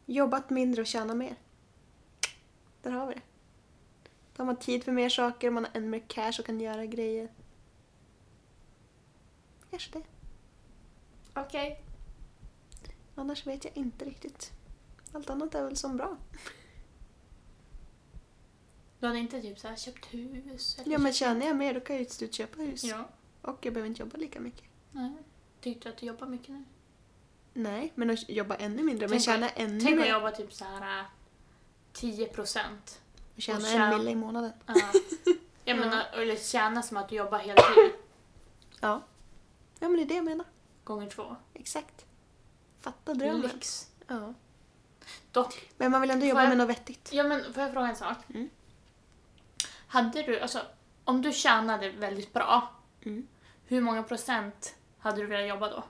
jobbat mindre och tjänat mer. Där har vi det. Då har man tid för mer saker, man har ännu mer cash och kan göra grejer. Kanske det.
Okej.
Annars vet jag inte riktigt. Allt annat är väl som bra.
Du hade inte typ så här köpt hus? Eller
Ja men tjänar jag mer då kan jag ju till slut köpa hus.
Ja.
Och jag behöver inte jobba lika mycket.
Nej. Tyckte du att du jobbar mycket nu?
Nej, men att jobba ännu mindre. Men
Tänk
tjäna
att-
ännu
Tänk att
mer.
jobba typ så här äh, 10 procent.
Och tjäna
och
en
tjäna-
mille i månaden.
Ja. Jag menar, eller tjäna som att du jobbar heltid
Ja. Ja men det är det jag menar.
gånger två.
Exakt. Fatta drömmen.
Lyx.
Ja.
Dock.
Men man vill ändå jobba
jag-
med något vettigt.
Ja men får jag fråga en sak?
Mm.
Hade du, alltså om du tjänade väldigt bra,
Mm.
hur många procent hade du velat jobba då?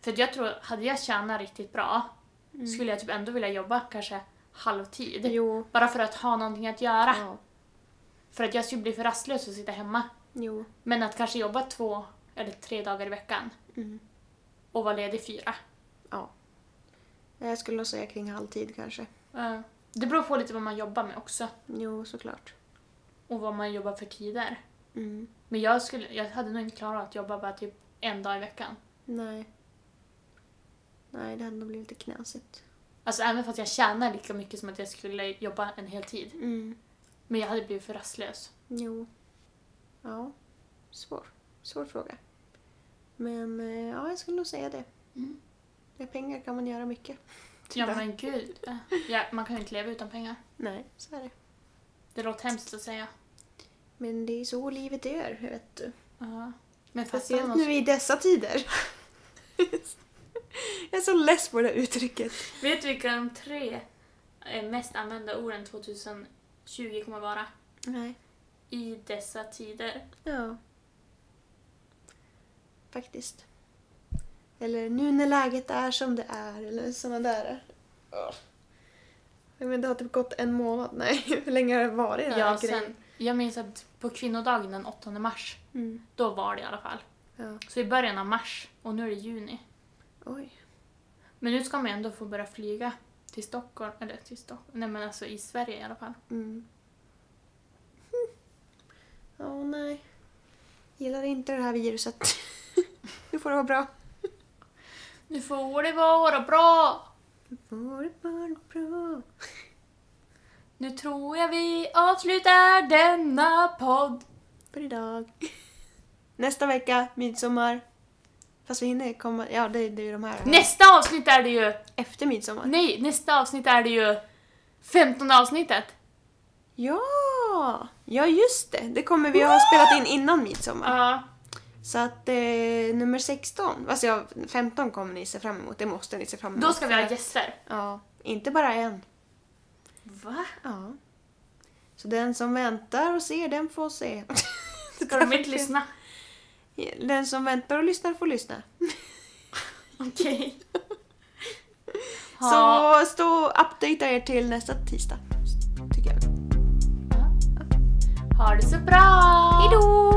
För att jag tror, hade jag tjänat riktigt bra skulle jag typ ändå vilja jobba kanske halvtid.
Mm. Jo.
Bara för att ha någonting att göra.
Ja.
För att jag skulle bli för rastlös och sitta hemma.
Jo.
Men att kanske jobba två eller tre dagar i veckan
Mm.
och vara ledig fyra.
Jag skulle nog säga kring halvtid kanske.
Eh, Det beror på lite vad man jobbar med också
Jo, såklart.
och vad man jobbar för tider.
Mm.
Men jag, skulle, jag hade nog inte klarat att jobba bara typ en dag i veckan.
Nej. Nej, det hade nog blivit lite knasigt.
Alltså även fast jag tjänar lika mycket som att jag skulle jobba en hel tid.
Mm.
Men jag hade blivit för rastlös.
Jo. Ja. Svår. Svår fråga. Men eh, ja, jag skulle nog säga det.
Mm.
Med pengar kan man göra mycket.
Ja
Tyvärr.
men gud. eh, Ja, man kan ju inte leva utan pengar.
Nej, så är det.
Det låter hemskt att säga.
Men det är så livet är, vet du.
Ja. Men fast man
Speciellt
måste...
nu i dessa tider. jag är så less på det här uttrycket.
Vet du vilka de tre eh, mest använda orden 2020 kommer vara?
Nej.
I dessa tider.
Ja. Faktiskt. Eller nu när läget är som det är, eller såna där. Ja. Jag menar, det har typ gått en månad. Nej, hur länge har det varit den här
Ja,
grejen?
sen, jag minns att på kvinnodagen den 8 mars,
Mm.
då var det i alla fall.
Ja.
Så i början av mars och nu är det juni.
Oj.
Men nu ska man ju ändå få börja flyga till Stockholm, eller till Stockholm, nej men alltså i Sverige i alla fall.
Mm. Hm. Ja, nej. Gillar inte det här viruset. nu får det vara bra.
Nu får det vara bra!
Får det vara bra.
Nu tror jag vi avslutar denna podd.
för idag. Nästa vecka, midsommar. Fast vi hinner komma... Ja, det, det är ju de här.
Nästa avsnitt är det ju...
Efter midsommar.
Nej, nästa avsnitt är det ju... 15 avsnittet.
Ja! Ja, just det. Det kommer vi ha spelat in innan midsommar.
Ja.
Så att eh, nummer 16, alltså ja, 15 kommer ni se fram emot. Det måste ni se fram emot.
Då ska vi ha gäster.
Ja, inte bara en.
Va?
Ja. Så den som väntar och ser, den får se.
Ska de inte lyssna?
Den som väntar och lyssnar får lyssna.
Okej. Ha-
Så stå och updatera er till nästa tisdag. Tycker jag.
Ha det så bra!
Hejdå!